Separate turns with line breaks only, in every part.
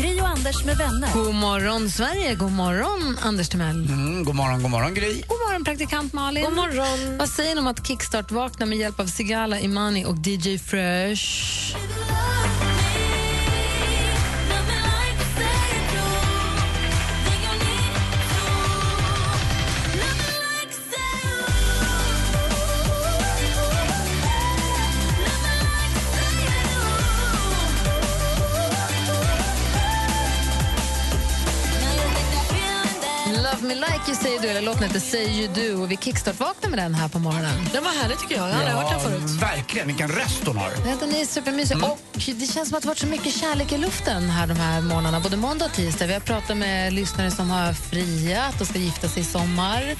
Gri och Anders med vänner.
God morgon, Sverige. God morgon, Anders Timell.
Mm, god morgon, god morgon Gry.
God morgon, praktikant Malin.
God morgon.
Vad säger ni om att Kickstart vaknar med hjälp av Sigala Imani och DJ Fresh? Love Me Like You Say Do, eller låten heter Say You Do. Och vi kickstart-vaknar med den här på morgonen.
Den var härlig tycker jag. Jag har aldrig hört den förut.
Verkligen, vilken röst hon har.
Ja, Den är supermysig.
Mm.
Och det känns som att det har varit så mycket kärlek i luften här de här morgnarna, både måndag och tisdag. Vi har pratat med lyssnare som har friat och ska gifta sig i sommar.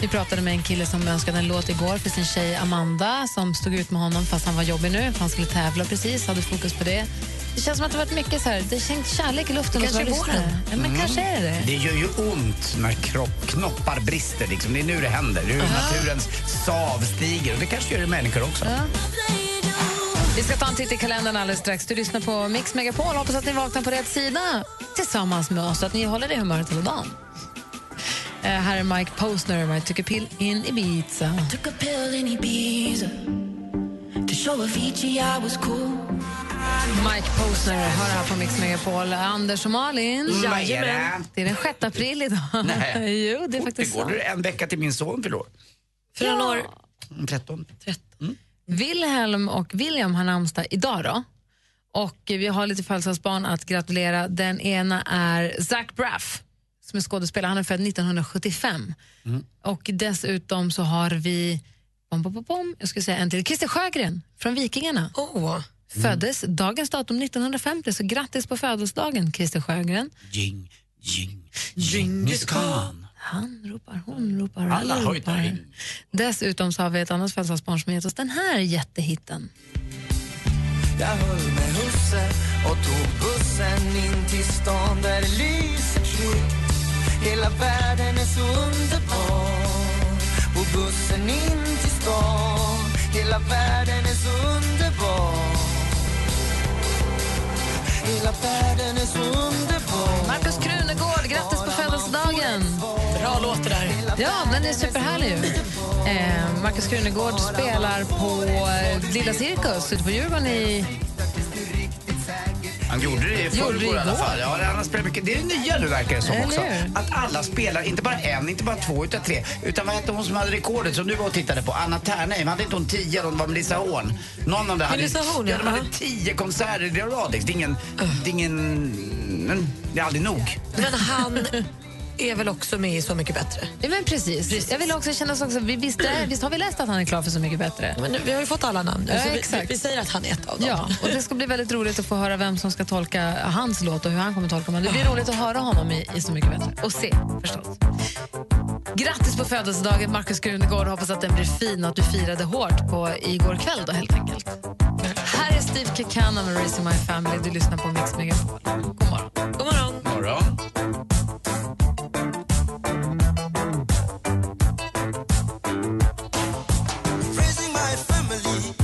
Vi pratade med en kille som önskade en låt igår för sin tjej Amanda som stod ut med honom fast han var jobbig nu, för han skulle tävla precis, hade fokus på det. Det känns som att det har varit mycket så här, det känns kärlek i luften
Det kanske
hos våra
är Mm.
lyssnare. Ja, men kanske är det det.
Det gör ju ont när kropp, knoppar brister. Liksom. Det är nu det händer. Det är hur naturens sav stiger. Och det kanske gör det människor också.
Vi ska ta en titt i kalendern alldeles strax. Du lyssnar på Mix Megapol. Hoppas att ni vaknar på rätt sida tillsammans med oss och att ni håller det humöret hela dagen. Eh, här är Mike Posner med I took a pill in Ibiza.
Took a pill in Ibiza to show Avicii I was cool.
Mike Posner hör här på Mix Megapol. Anders och Malin.
Mm, Vad är det?
Det är den 6 april idag.
Nej.
jo, det är faktiskt
Igår
sant.
är det en vecka till min son fyller år.
För några år.
Mm, 13.
Wilhelm och William har namnsdag idag då. Och eh, vi har lite födelsedagsbarn att gratulera. Den ena är Zach Braff som är skådespelare. Han är född 1975. Och dessutom så har vi bom, bom, bom, bom, jag skulle säga en till. Christer Sjögren från Vikingarna.
Åh.
Föddes dagens datum 1950, så grattis på födelsedagen Christer Sjögren.
Jing, jing, Djingis khan.
Han ropar, hon ropar,
Alla
alla
höjtar
ropar.
in.
Dessutom så har vi ett annat födelsedagsbarn som gett oss den här jättehitten.
Jag höll med husse och tog bussen in till stan där det lyser kvitt Hela världen är så underbar På bussen in till stan Hela världen är så underbar Hela världen är så underbar
Markus Krunegård, grattis på födelsedagen!
Bra låt det där.
Ja, den är superhärlig ju. Eh, Markus Krunegård spelar på eh, Lilla Cirkus ute på Djurgården i...
Han gjorde det i
Gjorde det
förrgår i alla
igår.
fall. Ja, det, annars spelar mycket. det är det nya nu verkar det som
Eller
också.
hur?
Att alla spelar, inte bara en, inte bara två, utan tre. Utan vad hette hon som hade rekordet som du var och tittade på? Anna Ternheim. Hade inte hon tio eller om det var Melissa Horn? Någon av dem hade...
Melissa Horn,
ja. De
ja.
hade tio konserter i rad. Det är ingen... Det är ingen... men Det är aldrig nog.
Men han är väl också med i Så mycket bättre?
Ja, men precis. Jag vill också känna så också, vi visst, är- visst har vi läst att han är klar för Så mycket bättre?
Men nu, vi har ju fått alla namn nu,
Ja,
så Alltså, vi,
exakt.
vi säger att han är ett av dem.
Ja, och det ska bli väldigt roligt att få höra vem som ska tolka hans låt och hur han kommer tolka den. Det blir roligt att höra honom i, i Så mycket bättre och se förstås. Grattis på födelsedagen Markus Krunegård. Hoppas att den blir fin och att du firade hårt på igår kväll då helt enkelt. Här är Steve Kekana med Raising My Family. Du lyssnar på Mix Megapol. God morgon.
God morgon.
Morgon.
Raising my family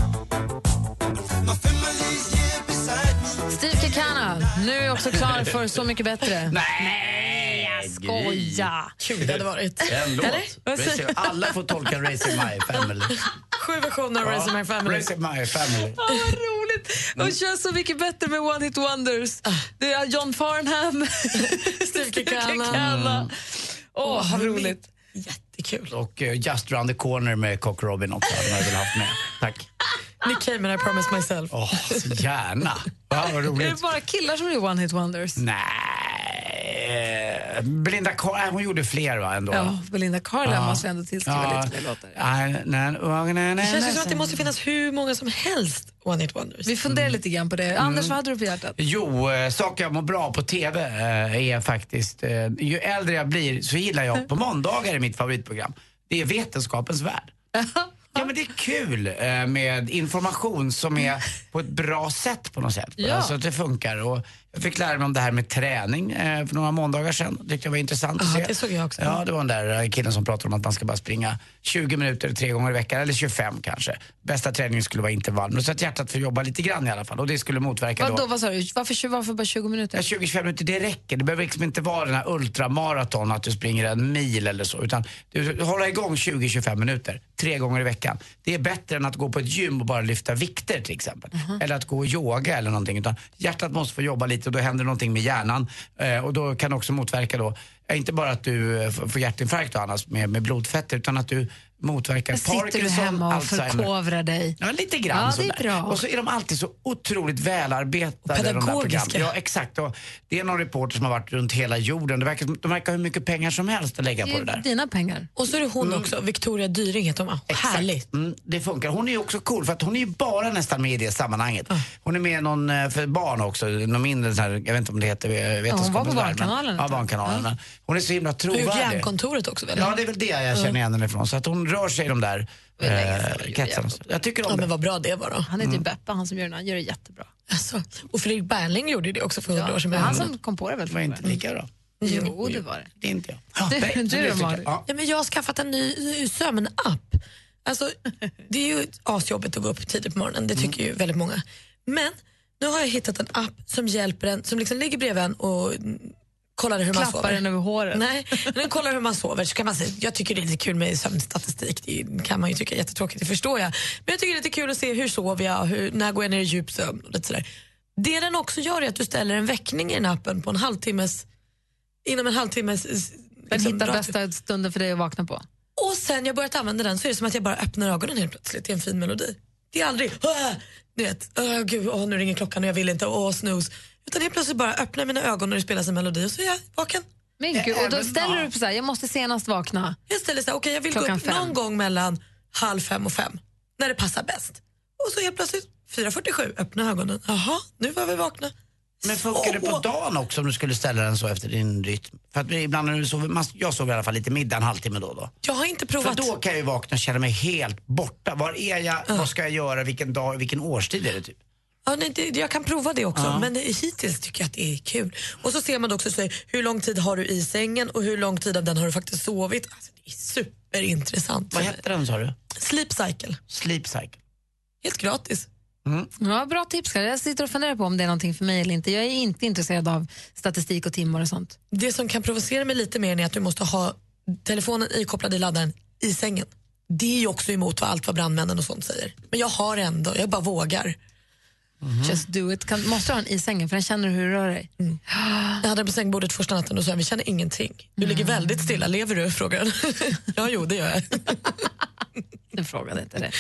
My family's here beside me
Steve Kekana, nu är jag också klar för Så mycket bättre.
Nej, jag
Skoja!
Kul det hade varit.
En
Vad
låt.
säger-
Raising- Alla får tolka Raising My Family.
Sju versioner av Raising My Family.
Raising My Family.
Åh, vad roligt! Och kör Så mycket bättre med One Hit Wonders. Det är John Farnham, Steve
Kekana.
Kekana. Åh, vad roligt.
Jättekul.
Och eh, Just Round the Corner med Cock Robin också hade man väl haft med. Tack.
Ah.
Nick Cayman, I promise myself.
Åh, så gärna. Wow, vad
Är det
roligt. Mm.
bara killar som gör One Hit Wonders?
Nej, eh, Belinda Carlisle, hon gjorde fler va ändå?
Ja, Belinda Carlisle
Ah.
måste vi ändå tillskriva lite fler låtar.
Det
låtar.
känns ju som att det måste finnas hur många som helst One Hit Wonders.
Vi funderar lite grann på det.
Mm.
Anders, vad hade du på hjärtat?
Jo, eh, saker jag mår bra på TV eh, är faktiskt, eh, ju äldre jag blir så gillar jag, på måndagar är mitt favoritprogram, det är Vetenskapens Värld. Ja men det är kul eh, med information som är på ett bra sätt på något sätt.
Ja.
Så att det funkar. Och jag fick lära mig om det här med träning eh, för några måndagar sedan. Det tyckte jag var intressant att
Ja,
se.
det såg jag också.
Ja, det var den där eh, killen som pratade om att man ska bara springa 20 minuter tre gånger i veckan, eller 25 kanske. Bästa träningen skulle vara intervall. Men så att hjärtat får jobba lite grann i alla fall och det skulle motverka
Vadå,
då
vad sa du? Varför, varför bara 20
Ja,
minuter?
20-25 minuter, det räcker. Det behöver liksom inte vara den här ultramaraton, att du springer en mil eller så. Utan du håller igång 20-25 minuter, tre gånger i veckan. Det är bättre än att gå på ett gym och bara lyfta vikter till exempel.
Uh-huh.
Eller att gå och yoga eller någonting. Utan hjärtat måste få jobba lite och då händer någonting med hjärnan. Eh, och då kan det också motverka då, eh, inte bara att du eh, f- får hjärtinfarkt och annars med, med blodfetter, utan att du motverkar
Sitter du
Parkinson,
hemma och
Alzheimer.
förkovrar dig?
Ja, lite grann.
Ja, det är
sådär.
bra.
Och så är de alltid så otroligt välarbetade. de
Och
där
pedagogiska.
programmen. ja, exakt. Och det är någon reporter som har varit runt hela jorden. Det verkar, som- de verkar ha hur mycket pengar som helst att lägga
Det
på det
är
där.
ju dina pengar.
Och så är det hon också, Victoria Dyring heter hon va? Härligt.
Mm, det funkar. Hon är ju också cool för att hon är ju bara nästan med i det sammanhanget. Hon är med i någon eh, för barn också, någon mindre sån här, jag vet inte om det heter eh, vetenskapens
hon var på
värld, men-
Barnkanalen ett
Ja,
tag.
Barnkanalen. men Hon är så himla
Hon har
trovärdig.
gjort Hjärnkontoret också väl?
Ja, det är väl det jag känner igen henne ifrån. Så att hon rör sig i de där eh, kretsarna. Jag tycker om
Ja,
det.
men vad bra det var då.
Han
Mm.
heter ju Beppe, han som gör den. Han gör det jättebra.
Alltså, och Fredrik Berling gjorde ju det också för hundra år
Ja,
sedan.
det var han som kom på det väl?
Det var inte lika bra.
Jo, det var det.
Det är inte jag. Ja,
Du-
nej,
du
så
då,
det tycker jag.
Malin?
Ja.
Ja, men jag har skaffat en ny ny sömnapp. Alltså, det är ju asjobbigt att gå upp tidigt på morgonen, det tycker ju väldigt många. Men nu har jag hittat en app som hjälper en, som liksom ligger bredvid en och mm, kollar hur man
Klappar
sover.
den över håret.
Nej, men den kollar hur man sover. Så kan man se, jag tycker det är lite kul med sömnstatistik, det kan man ju tycka är jättetråkigt, det förstår jag. Men jag tycker det är lite kul att se hur sover jag, hur, när går jag ner i djup sömn och lite sådär. Det den också gör är att du ställer en väckning i den appen på en halvtimmes, inom en halvtimmes...
Den
liksom,
hittar
rak-
bästa stunden för dig att vakna på.
och sen jag börjat använda den så är det som att jag bara öppnar ögonen helt plötsligt till en fin melodi. Det är aldrig "Åh", du vet, åh gud, åh, nu ringer klockan och jag vill inte, åh snooze. Utan helt plötsligt bara öppnar jag mina ögon och det spelas en melodi och så är jag vaken.
Men gud, och då
Även-
ställer du
ja.
upp så här, jag måste senast vakna.
Jag ställer så här, okej jag vill
Klockan
gå upp
fem.
någon gång mellan halv fem och fem, när det passar bäst. Och så helt plötsligt 4.47, öppna ögonen, jaha, nu var vi vakna.
Men funkar det på
Så-
dagen också om du skulle ställa den så efter din rytm? För att ibland när du sover, man- jag sover i alla fall lite middag, en halvtimme då och då.
Jag har inte
För
provat.
då kan jag ju vakna och känna mig helt borta. Var är jag? Vad ska jag göra? Vilken dag? Vilken årstid är det typ?
Ja, nej, det, jag kan prova det också, men hittills tycker jag att det är kul. Och så ser man också så här, hur lång tid har du i sängen och hur lång tid av den har du faktiskt sovit. Alltså, det är superintressant.
Vad hette den sa du?
Sleep cycle,
Sleep cycle.
helt gratis.
Ja, bra tips. Karin. Jag sitter och funderar på om det är någonting för mig eller inte. Jag är inte intresserad av statistik och timmar och sånt.
Det som kan provocera mig lite mer är att du måste ha telefonen ikopplad i laddaren i sängen. Det är ju också emot vad allt vad brandmännen och sånt säger. Men jag har ändå, jag bara vågar.
Just do it. Kan, måste du ha den i sängen för den känner du hur du rör dig.
Jag hade den på sängbordet första natten och sa vi känner ingenting. Du ligger väldigt stilla, lever du? frågar den. ja, jo det gör jag.
Nu frågade inte det.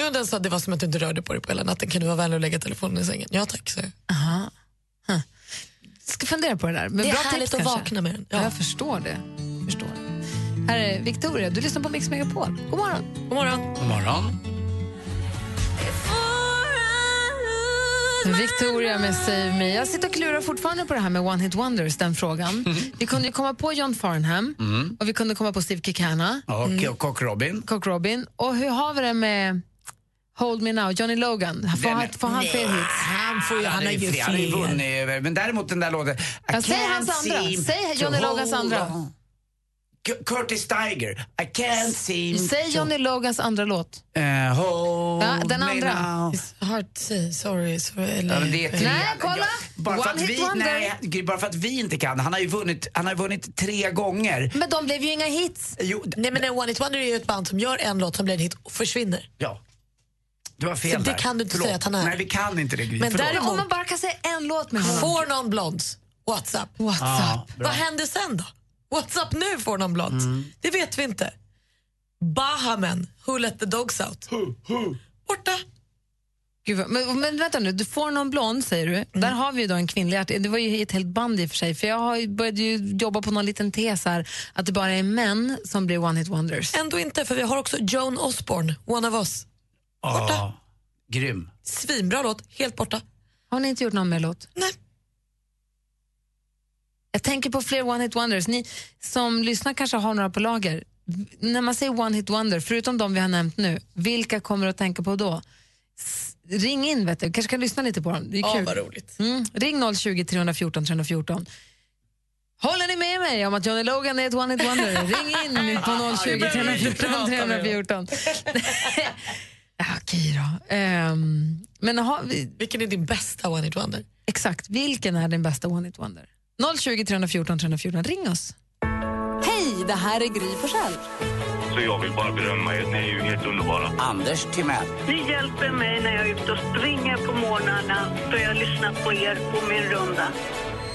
Jo, den sa att det var som att du inte rörde på dig på hela natten. Kan du vara vänlig och lägga telefonen i sängen? Ja tack, så.
Ska fundera på det där. Men
Det är
bra
härligt
tips,
att
kanske.
vakna med den.
Ja.
Ja.
Jag förstår det. Jag förstår. Här är Victoria, du lyssnar på Mix Megapol. God morgon.
God morgon.
God morgon.
Victoria med Save Me. Jag sitter och klurar fortfarande på det här med One Hit Wonders, den frågan.
Mhm.
Vi kunde ju komma på John Farnham och vi kunde komma på Steve Kikana,
Och mm. Cock Robin.
Cock Robin. Och hur har vi det med Hold Me Now, Johnny Logan? Får
Den
han,
är-
får han fler hits?
Han får ju, han har
är
ju
fri. han har ju
fel.
vunnit. Men däremot den där låten... I
Ja, säg
can't
hans andra.
seem
Säg
to
Johnny Logans
hold
andra.
on. Cu- Curtis Tiger. I can't seem
Säg Johnny Logans andra låt.
Eh, hold
Ja, den
me
andra.
now.
It's hard to say, sorry. sorry
Ja,
eller,
men det är tre.
Nej, kolla.
Jag- Bara
One
för, att
hit
vi,
wonder.
nej, gud, bara för att vi inte kan. Han har ju vunnit, han har ju vunnit tre gånger.
Men de blev ju inga hits.
Jo, d-
Nej men en One Hit Wonder är ju ett band som gör en låt som blir en hit och försvinner.
ja. Du har fel
Så det
där.
kan du inte
Förlåt.
säga att han är.
Nej, vi kan inte det. Gry.
Men
Förlåt.
däremot-
Om man bara kan säga en låt med honom.
Får någon blonds? What's up?
What's
Ja,
up?
bra.
Vad händer sen då? What's up nu får någon blonds? Det vet vi inte. Bahamen, Who Let The Dogs Out? Borta.
Gud, vad- men, men vänta nu, du får någon blond säger du. Där har vi ju då en kvinnlig artist. Det var ju ett helt band i och för sig. För jag har ju- började ju jobba på någon liten tes här att det bara är män som blir one hit wonders.
Ändå inte, för vi har också Joan Osborne, One of Us.
Ja, grym.
Svinbra låt, helt borta.
Har ni inte gjort någon mer låt?
Nej.
Jag tänker på fler one hit wonders. Ni som lyssnar kanske har några på lager. V- När man säger one hit wonder, förutom de vi har nämnt nu, vilka kommer du att tänka på då? S- Ring in, vet du. kanske kan lyssna lite på dem. Det är
Ja,
kul.
vad roligt.
Mm. Ring 020 314 314. Håller ni med mig om att Johnny Logan är ett one hit wonder? Ring in på 020 314 314. Ja, Okej då. Ehm, men har vi,
Vilken är din bästa One Hit Wonder?
exakt, vilken är din bästa one hit wonder? 020 314 314, ring oss.
Hej, det här är Gry Forssell.
Så jag vill bara berömma er. Ni är ju helt underbara.
Anders Timell.
Ni hjälper mig när jag är ute och springer på morgnarna för jag lyssnar på er på min runda.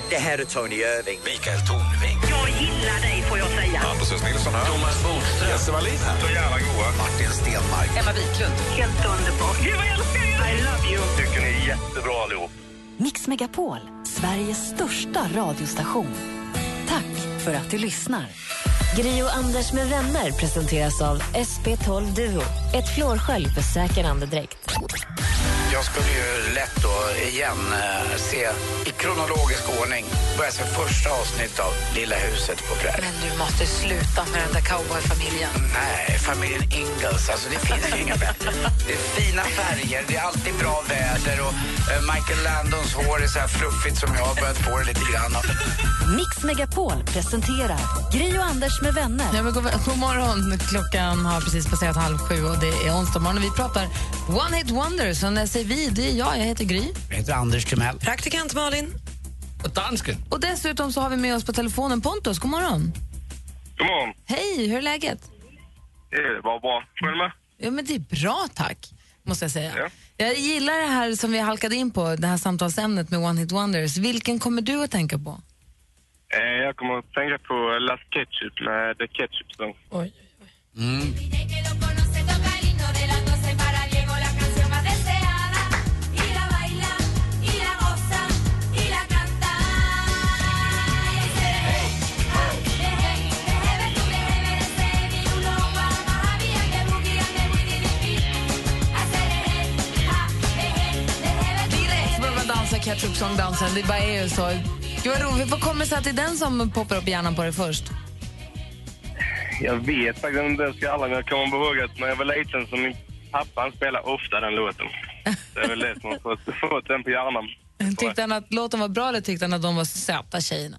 Det här är Tony Irving.
Mikael Tornving.
Jag gillar dig får jag säga.
Hampus Nilsson här. Thomas Bodström. Jesse Wallin här. Så jävla goa. Martin Stenmark.
Emma Wiklund. Helt underbart. Gud vad jag älskar er! I love you.
Tycker ni är jättebra allihop.
Mix Megapol, Sveriges största radiostation. Tack för att du lyssnar. Gri och Anders med vänner presenteras av SP12 Duo. Ett flårskölj för säker andedräkt.
Jag skulle ju lätt då igen eh, se i kronologisk ordning börja se första avsnitt av Lilla huset på prärien.
Du måste sluta med den där cowboyfamiljen.
Nej, familjen Ingalls. Alltså det finns ju inga bättre. Det är fina färger, det är alltid bra väder och eh, Michael Landons hår är så här fluffigt som jag har börjat få det lite grann.
Mix Megapol presenterar Gri och Anders med vänner.
Ja, men god, god morgon. Klockan har precis passerat halv sju och det är onsdag morgon och vi pratar one hit wonders. Och när jag säger vi, det är jag. Jag heter Gry.
Jag heter Anders Timell.
Praktikant Malin.
Och dansken.
Och dessutom så har vi med oss på telefonen Pontus. God morgon.
God morgon.
Hej, hur är läget?
Det var Eh, bra. Själv med?
Ja, men det är bra tack, måste jag säga. Jag gillar det här som vi halkade in på, det här samtalsämnet med One Hit Wonders. Vilken kommer du att tänka på?
Eh, Jag kommer att tänka på Last Ketchup med The Ketchup Song.
Oj.
Mm.
Så börjar man dansa ketchup song dansen Det bara är ju så. Gud vad roligt. Vad kommer det sig att det är den som poppar upp i hjärnan på dig först?
Jag vet faktiskt inte om det ska alla, men jag kommer ihåg att när jag var liten så min pappa han spelade ofta den låten. Det är väl det som har fått, fått den på hjärnan.
Tyckte han att låten var bra eller tyckte han att de var söta tjejerna?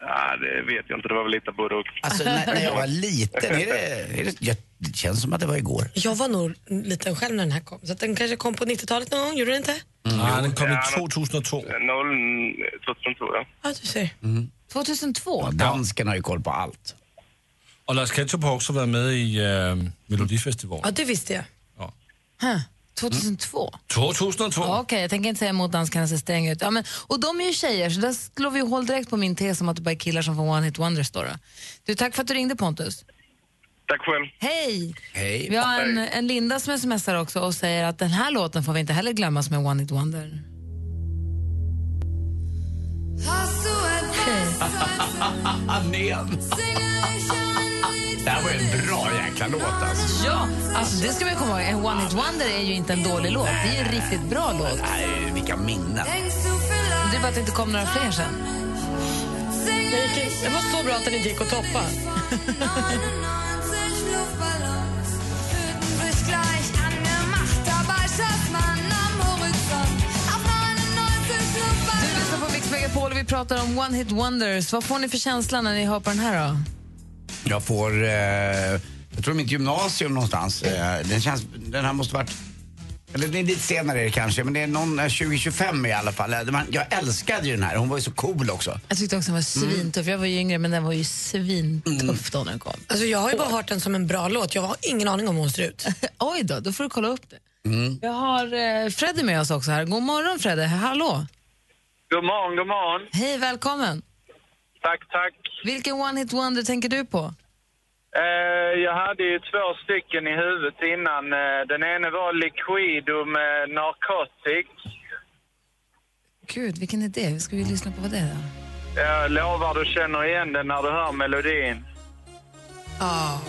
Ja, det vet jag inte. Det var väl lite både och.
Alltså när, när jag var liten, är det, är det, jag, det känns som att det var igår.
Jag var nog liten själv när den här kom, så att den kanske kom på 90-talet någon gång, gjorde den inte?
Mm. Ja, den kom i
Ja, men- Eh,
2002.
2002, ja.
Ja, du ser.
2002?
Dansken har ju koll på allt.
Och Lars Ketchup har också varit med i uh, Melodifestivalen.
Ja, det visste jag.
Huh. 2002?
2002!
Ja, Okej, jag tänker inte säga emot danskarna ser stränga ut. Ja, men, och de är ju tjejer, så där slår vi hål direkt på min tes om att det bara är killar som får one hit wonders. Då, då. Du, tack för att du ringde Pontus.
Tack själv.
Hej!
Hej.
Vi har en, en Linda som smsar också och säger att den här låten får vi inte heller glömma som en one hit wonder.
Nen. Det här var ju en bra jäkla låt alltså.
Ja, alltså det ska man ju komma ihåg. En one hit wonder är ju inte en dålig låt. Det är ju en riktigt bra låt. Alltså,
Nej, vilka minnen.
Det är bara att det inte kom några fler sen.
Det var så bra att den inte gick att toppa.
Du lyssnar på Mix Megapol och vi pratar om one hit wonders. Vad får ni för känsla när ni hör på den här då?
Jag får, eh, jag tror mitt gymnasium någonstans. Eh, den, känns, den här måste varit, eller det är lite senare är det kanske, men det är någon eh, 2025 i alla fall. Eh, man- Jag älskade ju den här, hon var ju så cool också.
Jag tyckte också den var svintuff. Jag var ju yngre, men den var ju svintuff då när den kom.
Alltså, jag har ju bara hört den som en bra låt, jag har ingen aning om hur hon ser ut.
Oj då, då får du kolla upp det. Vi har eh, Freddy med oss också här. God morgon Freddy, hallå.
God morgon, god morgon.
Hej, välkommen.
Tack, tack.
Vilken one hit wonder tänker du på?
Eh, jag hade ju två stycken i huvudet innan. Eh, den ena var Liquido med Narcotic.
Gud, vilken är det? Hur Ska vi lyssna på vad det är då?
Jag lovar du känner igen den när du hör melodin.
Ja.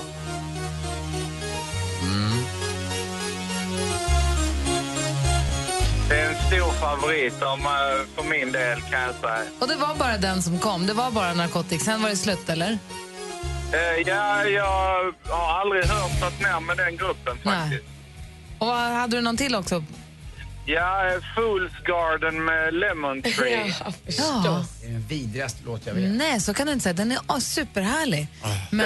Det är en stor favorit om, eh, för min del kan jag säga.
Och det var bara den som kom, det var bara narkotik. Sen var det slut, eller?
Eh, ja, jag har aldrig hört något mer med den gruppen faktiskt.
Och vad- hade du någon till också?
Ja, eh, Fools Garden med Lemon Tree.
Ja.
Det är den vidrigaste låt jag vet.
Nej, så kan du inte säga. Den är ah, superhärlig.
Eh,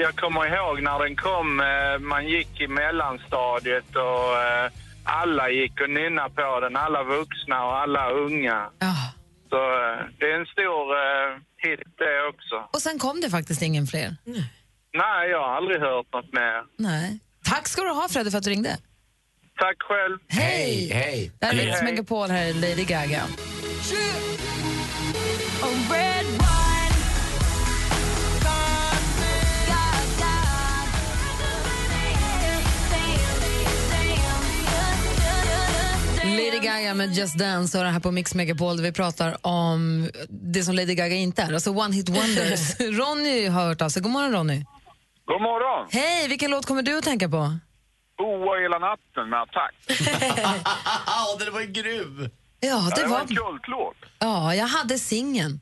Jag kommer ihåg när den kom, eh, man gick i mellanstadiet och eh, alla gick och nynnade på den, alla vuxna och alla unga. Så eh, det är en stor eh, hit det också.
Och sen kom det faktiskt ingen fler.
Nej, jag har aldrig hört något mer.
Nej. Tack ska du ha, Fredde, för att du ringde.
Tack själv.
Hej!
Hej!
Det här är Mix Megapol, här är Lady Gaga. Lady Gaga med Just Dance och det här på Mix Megapol där vi pratar om det som Lady Gaga inte är, alltså One Hit Wonders. Ronny har hört av sig. God morgon Ronny.
God morgon!
Hej, vilken låt kommer du att tänka på?
Boa hela natten med Attack.
Ja, den var ju grym!
Ja, det
var
var...
en kultlåt.
Ja, jag hade singeln.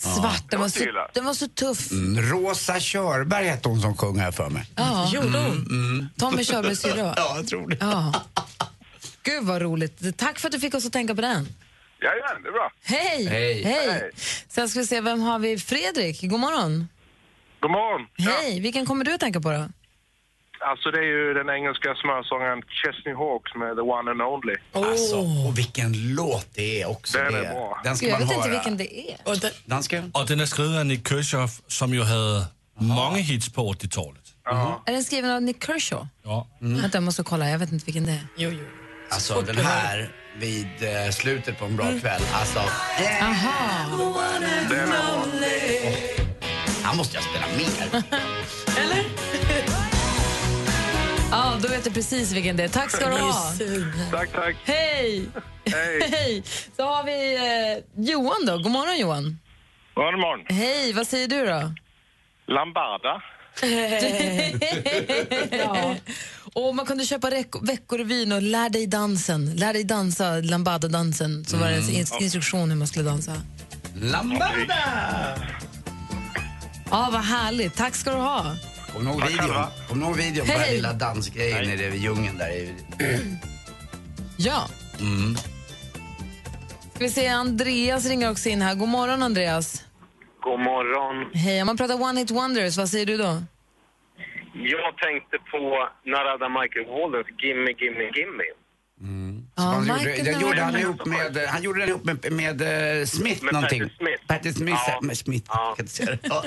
Svart, den, var så, den var så tuff.
Mm, Rosa Körberg hette hon som sjöng här för mig.
Ja. Gjorde hon?
mm.
Tommy Körbergs syrra, va?
Ja, jag tror det.
Ja. Gud vad roligt. Tack för att du fick oss att tänka på den.
Jajamän, det är bra.
Hej!
Hej.
Hej.
Hej.
Sen ska vi se, vem har vi? Fredrik, god morgon.
God morgon!
Hej, vilken kommer du att tänka på då?
Alltså det är ju den engelska smörsångaren Chesney Hawks med The One and Only.
Alltså, och vilken låt det är också.
Den är
det.
bra.
Den ska
Gud, jag
man
vet
höra.
inte vilken det är.
Dansken?
Och den är skriven av Nick Kirchhoff som ju hade många hits på 80-talet.
Är den skriven av Nick Kershaw?
Ja.
Vänta, jag måste kolla. Jag vet inte vilken det är.
Jo, jo.
Alltså den här vid eh, slutet på en bra kväll. Alltså,
Aha.
Den är bra. här måste jag spela mer.
Eller?
Ja, då vet du precis vilken det är. Tack ska du ha.
Tack, tack.
Hej!
Hej.
Så har vi eh, Johan då. God morgon Johan.
God morgon.
Hej, vad säger du då?
Lambarda.
ja. Och man kunde köpa rek- Veckorevyn och lär dig dansen. Lär dig dansa lambada-dansen. Så var det en inst- instruktion hur man skulle dansa.
Lambada!
Ja, vad härligt. Tack ska du ha.
Kommer ni ihåg videon? Kommer ni ihåg videon på den här
Hej.
lilla dansgrejen nere i djungeln där? i-
Ja.
Mm.
Ska vi se, Andreas ringer också in här. God morgon, Andreas.
God morgon.
Hej, om man pratar One Hit Wonders, vad säger du då?
Jag tänkte på Narada Michael Wallens Gimme, Gimme, Gimme.
han,
Michael
gjorde, den
Jackson.
gjorde han, ihop med, eh, han gjorde den ihop med, med, eh, Smith
Med
någonting.
Patti Smith.
Patti Smith. eh,
Ja.
Med Smith. Jag kan inte säga det. Ja.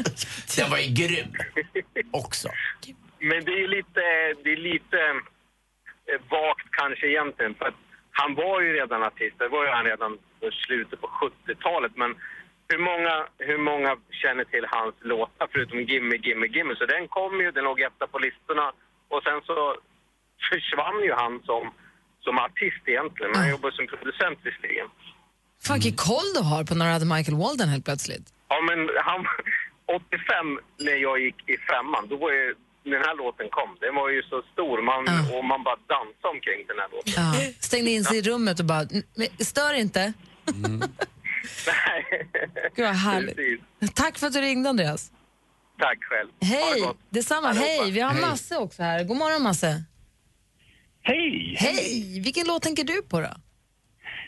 Den var ju grym också.
Men det är lite, det är lite eh, vagt kanske egentligen. För att han var ju redan artist, det var ju han redan på slutet på 70-talet. Men hur många, hur många känner till hans låtar förutom Gimme, Gimme, Gimme? Så den kom ju, den låg etta på listorna. Och sen så försvann ju han som, som artist egentligen. Men han jobbade som producent visserligen.
Fan, vilken koll du har på när du hade Michael Walden helt plötsligt.
Ja, men han... 85, när jag gick i femman, då var ju... När den här låten kom, den var ju så stor man, och man bara dansade omkring den här låten.
Ja. Stängde in sig i rummet och bara, "N- men stör inte. Gud, vad härligt.
Precis.
Tack för att du ringde, Andreas.
Tack själv. Ha det
Hej!
gott.
Detsamma.
Allihopa.
Hej! Vi har Masse också här. God morgon, Masse.
Hej!
Hej! Vilken låt tänker du på då?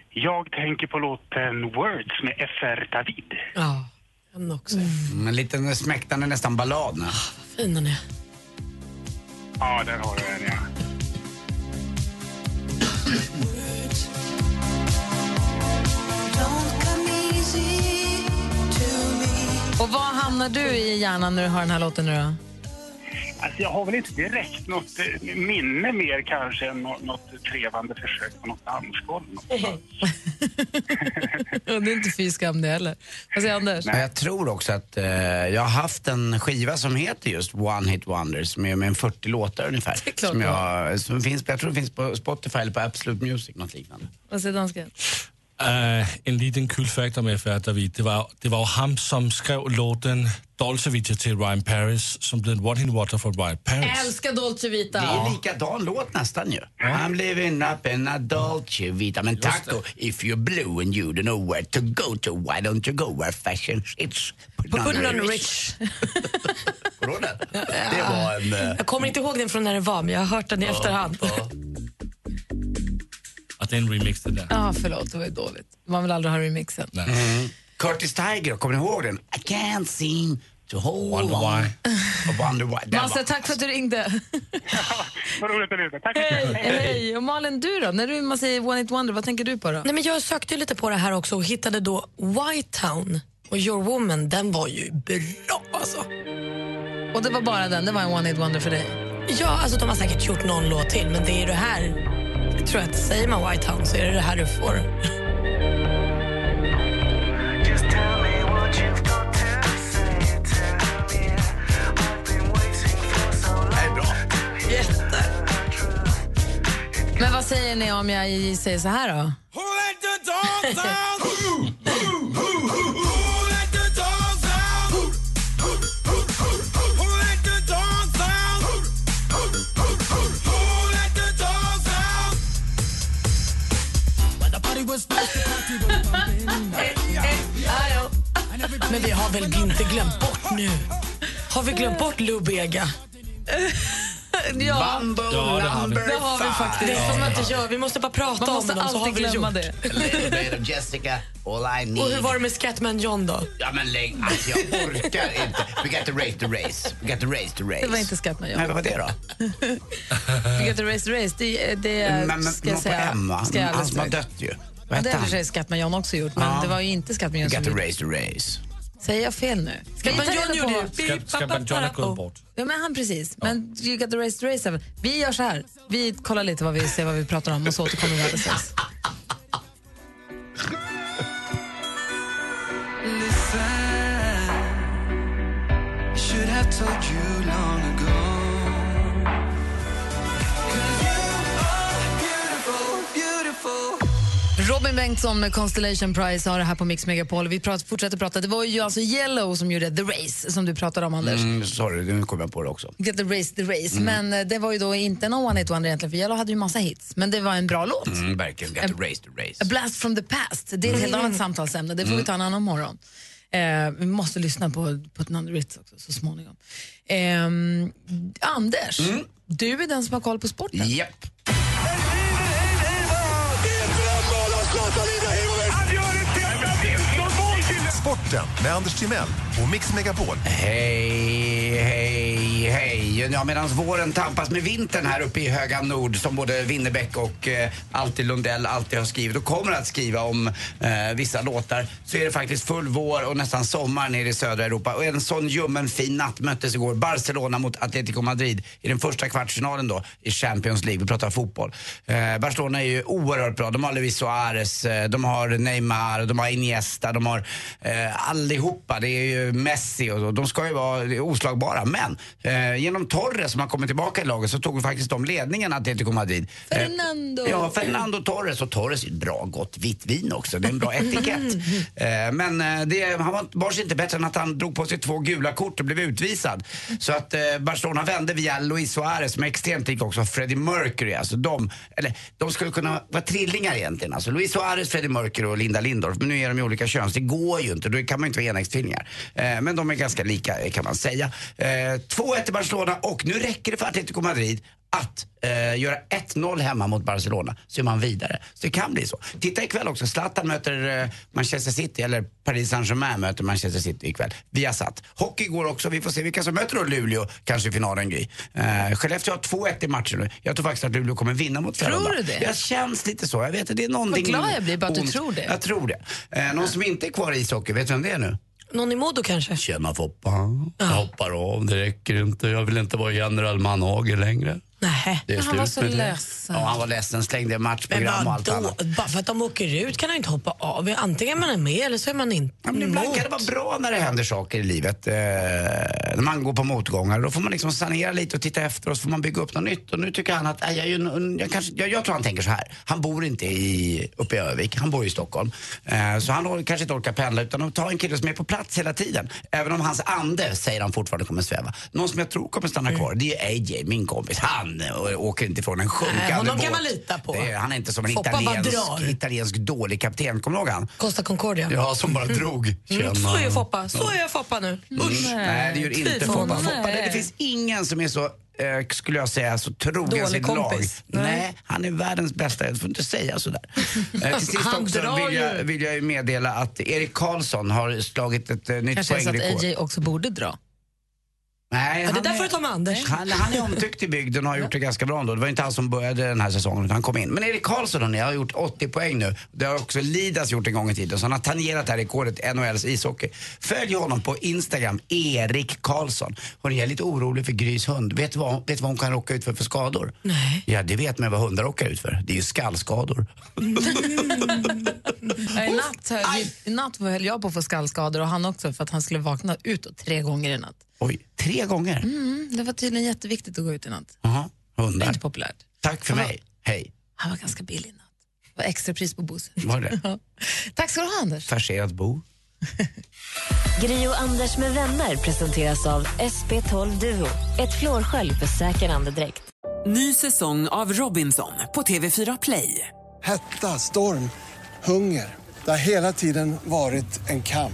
Jag tänker på låten Words med FR David.
Ja,
den också.
Mm, en liten smäktande nästan ballad. ne?
Fin den är.
Ja, där har du den ja.
Och var hamnar du i hjärnan när du hör den här låten nu då?
Alltså jag har väl inte direkt något eh, minne mer kanske än nå- något trevande försök på något dansgolv.
det är inte fy skam det heller. Vad säger Anders?
Men jag tror också att eh, jag har haft en skiva som heter just One Hit Wonders med, med en 40 låtar ungefär.
klart
Som
du
jag, som finns, jag tror det finns på Spotify eller på Absolute Music, något liknande.
Vad säger dansken?
Uh, en liten kul fact om FR David. Det var, det var ju han som skrev låten Dolce Vita till Ryan Paris som blev en one-hit wonder för Ryan Paris.
Älskar Dolce Vita.
Det är likadan låt nästan ju. I'm living up in a dolce vita. Men taco, if you're blue and you don't know where to go to, why don't you go where fashion sits?
Put it on rich.
Det var en... eh,
Jag kommer inte ihåg den från när den var, men jag har hört den i efterhand.
Och det är en remix det där.
Ja, förlåt. Det var ju dåligt. Man vill aldrig ha remixen.
Mm. Curtis Tiger, kommer ni ihåg den? I can't seem to hold
Wonder
on. I wonder why. Den
Massa,
var-
tack för att du ringde.
Vad roligt att lyssna. Tack.
hej, hej. Och Malin, du då? När du man säger One It Wonder, vad tänker du på då?
Nej, men jag sökte ju lite på det här också och hittade då Whitetown och Your Woman, den var ju bra alltså.
Och det var bara den, det var en One Hit Wonder för dig?
Ja, alltså de har säkert gjort någon låt till men det är det här, jag tror att säger man Whitetown så är det det här du får.
Men vad säger ni om jag säger så här då?
Men vi har väl inte glömt bort nu? Har vi glömt bort Lou Bega?
Ja.
Bumble
Ja, det har vi.
number
Det har vi
five.
faktiskt. Det får man inte göra. Vi måste bara prata
Man
om
måste
dem så har
alltid
vi det
glömma
gjort.
det.
A little bit of Jessica, all I need.
Och hur var det med Scatman John då?
Ja men lägg alltså, jag orkar inte. We got to race the race. We got to race the race. Eh,
Det var inte Scatman John.
Nej, vad var det då?
You got to race the race, det, det
men, men,
Eh, ska jag
någon på
säga.
M va?
Ska jag
Han
alldeles
som har
strax-
dött ju.
Ja,
Vad
det
hette
har i och
han?
för sig Scatman John också gjort, men
Ja.
det var ju inte Scatman John
We got to
som
race the race.
Säger jag fel nu?
Scatman
Vi tar
John
reda på-
gjorde ju...
Ska- Ska man John har gått bort?
Ja, men han precis. Men you got the race to race. även. Vi gör så här. Vi kollar lite vad vi ser vad vi pratar om och så återkommer vi alldeles strax.
Should have told you long ago.
Robin Bengtsson med Constellation Prize har det här på Mix Megapol. Vi prat, fortsätter prata. Det var ju alltså Yellow som gjorde The Race som du pratade om, Anders.
Mm, sorry, nu kom jag på det också.
Get the race, the race.
Mm.
Men eh, det var ju då inte någon one hit wonder egentligen, för Yellow hade ju massa hits. Men det var en bra låt.
Mm, verkligen, got to race the race.
A blast from the past. Det är ett helt annat samtalsämne. Det får
Mm.
vi ta en annan morgon. Eh, vi måste lyssna på, på Nando Ritz också så småningom. Ehm, Anders,
Mm.
du är den som har koll på sporten.
Japp.
Sporten med Anders Timell och Mix Megapol.
Hej, hej, hej. Ja, Medan våren tampas med vintern här uppe i höga nord som både Winnerbäck och eh, alltid Lundell alltid har skrivit och kommer att skriva om eh, vissa låtar så är det faktiskt full vår och nästan sommar nere i södra Europa. Och en sån ljummen fin natt möttes igår Barcelona mot Atletico Madrid i den första kvartsfinalen då i Champions League. Vi pratar fotboll. Eh, Barcelona är ju oerhört bra. De har Luis Suarez, eh, de har Neymar, de har Iniesta, de har eh, allihopa. Det är ju Messi och så. De ska ju vara oslagbara. Men eh, genom Torres som har kommit tillbaka i laget så tog faktiskt de ledningen Atletico Madrid. Eh,
Fernando.
Ja, Fernando Torres. Och Torres är ett bra gott vitt vin också. Det är en bra etikett. Eh, Men eh, det, han var, var sig inte bättre än att han drog på sig två gula kort och blev utvisad. Så att eh, Barcelona vände via Luis Suarez som är extremt lik också Freddie Mercury. Alltså de, eller, de skulle kunna vara trillingar egentligen. Alltså Luis Suarez, Freddie Mercury och Linda Lindorff. Men nu är de ju olika kön så det går ju inte. Då kan man ju inte vara enäggstvillingar. Eh, Men de är ganska lika eh, kan man säga. Eh, 2-1 till Barcelona och nu räcker det för Atletico Madrid att eh, göra 1-0 hemma mot Barcelona så är man vidare. Så det kan bli så. Titta ikväll också, Zlatan möter eh, Manchester City, eller Paris Saint-Germain möter Manchester City ikväll. Vi har satt. Hockey går också, vi får se vilka som möter då Luleå kanske i finalen Gry. Eh, Skellefteå har 2-1 i matchen nu. Jag tror faktiskt att Luleå kommer vinna mot
Tror
Frölunda.
du det?
Jag känns lite så, jag vet att det är någonting...
glad jag blir bara att du
ont.
tror det.
Jag tror det. Eh, någon som inte är kvar i ishockey, vet du vem det är nu?
Någon i Modo kanske?
Tjena Foppan, jag hoppar av, det räcker inte. Jag vill inte vara general Manhager längre.
Nej.
Det är
Han var
slut
så
med det.
ledsen.
Ja, han var ledsen, slängde
Men
matchprogram och allt
vadå?
annat.
Bara för att de åker ut kan han ju inte hoppa av. Antingen är man är med eller så är man inte
Ja, men ibland kan det vara bra när det händer saker i livet. Eh, när man går på motgångar, då får man liksom sanera lite och titta efter och så får man bygga upp något nytt. Och nu tycker han att, nej, jag, är ju en- jag, kanske, jag, jag tror han tänker så här. Han bor inte i, uppe i Övik, han bor i Stockholm. Eh, så han or- kanske inte orkar pendla utan ta en kille som är på plats hela tiden. Även om hans ande, säger han fortfarande, kommer sväva. Någon som jag tror kommer stanna
Mm.
kvar, det är ju AJ, min kompis. Han eh, åker inte ifrån en sjunkande
Nej, honom
båt.
kan man lita på.
Det är- han är inte som en
Foppa bara
italiensk,
drar.
italiensk dålig kapten, kommer du ihåg han?
Costa Concordia.
Ja, som bara drog.
Mm,
Tjena.
så är Foppa. Så är Foppa nu. Usch.
Mm. Nej, det gör
Fy
inte
fan.
Foppa. Foppa det,
Nej.
det finns ingen som är så, eh, skulle jag säga, så trogen
Dålig
sitt
kompis.
lag.
Nej.
Nej, han är världens bästa. Du får inte säga sådär. Eh, till sist
Han
också
drar
vill jag, vill jag ju meddela att Erik Karlsson har slagit ett eh, nytt
Kanske är det så
poängrekord.
att AJ också borde dra.
Nej,
Ja, det
han
där
är-
får du ta med Anders.
Han, han är omtyckt i bygden och har gjort det ganska bra ändå. Det var inte han som började den här säsongen utan han kom in. Men Erik Karlsson hörni, har gjort 80 poäng nu. Det har också Lidas gjort en gång i tiden. Så han har tangerat det här rekordet, NHLs ishockey. Följ honom på Instagram, Erik Karlsson. Hörni, jag är lite orolig för Grys hund. Vet du vad, vet du vad hon kan råka ut för för skador? Nej. Ja, det vet man vad hundar råkar ut för. Det är ju skallskador.
Ja, I natt, höll, i natt höll jag på att få skallskador och han också för att han skulle vakna utåt tre gånger i natt.
Oj, tre gånger?
Mm, det var tydligen jätteviktigt att gå ut i natt.
Jaha, hundar.
Inte populärt.
Tack för mig. Hej.
Han var ganska billig i natt. Det var extra pris på bussen.
Var det?
Ja. Tack ska du ha Anders.
Färserat bo.
Gri och Anders med vänner presenteras av SP12 Duo. Ett flårskölj för säker andedräkt.
Ny säsong av Robinson på TV4 Play.
Hetta, storm, hunger. Det har hela tiden varit en kamp.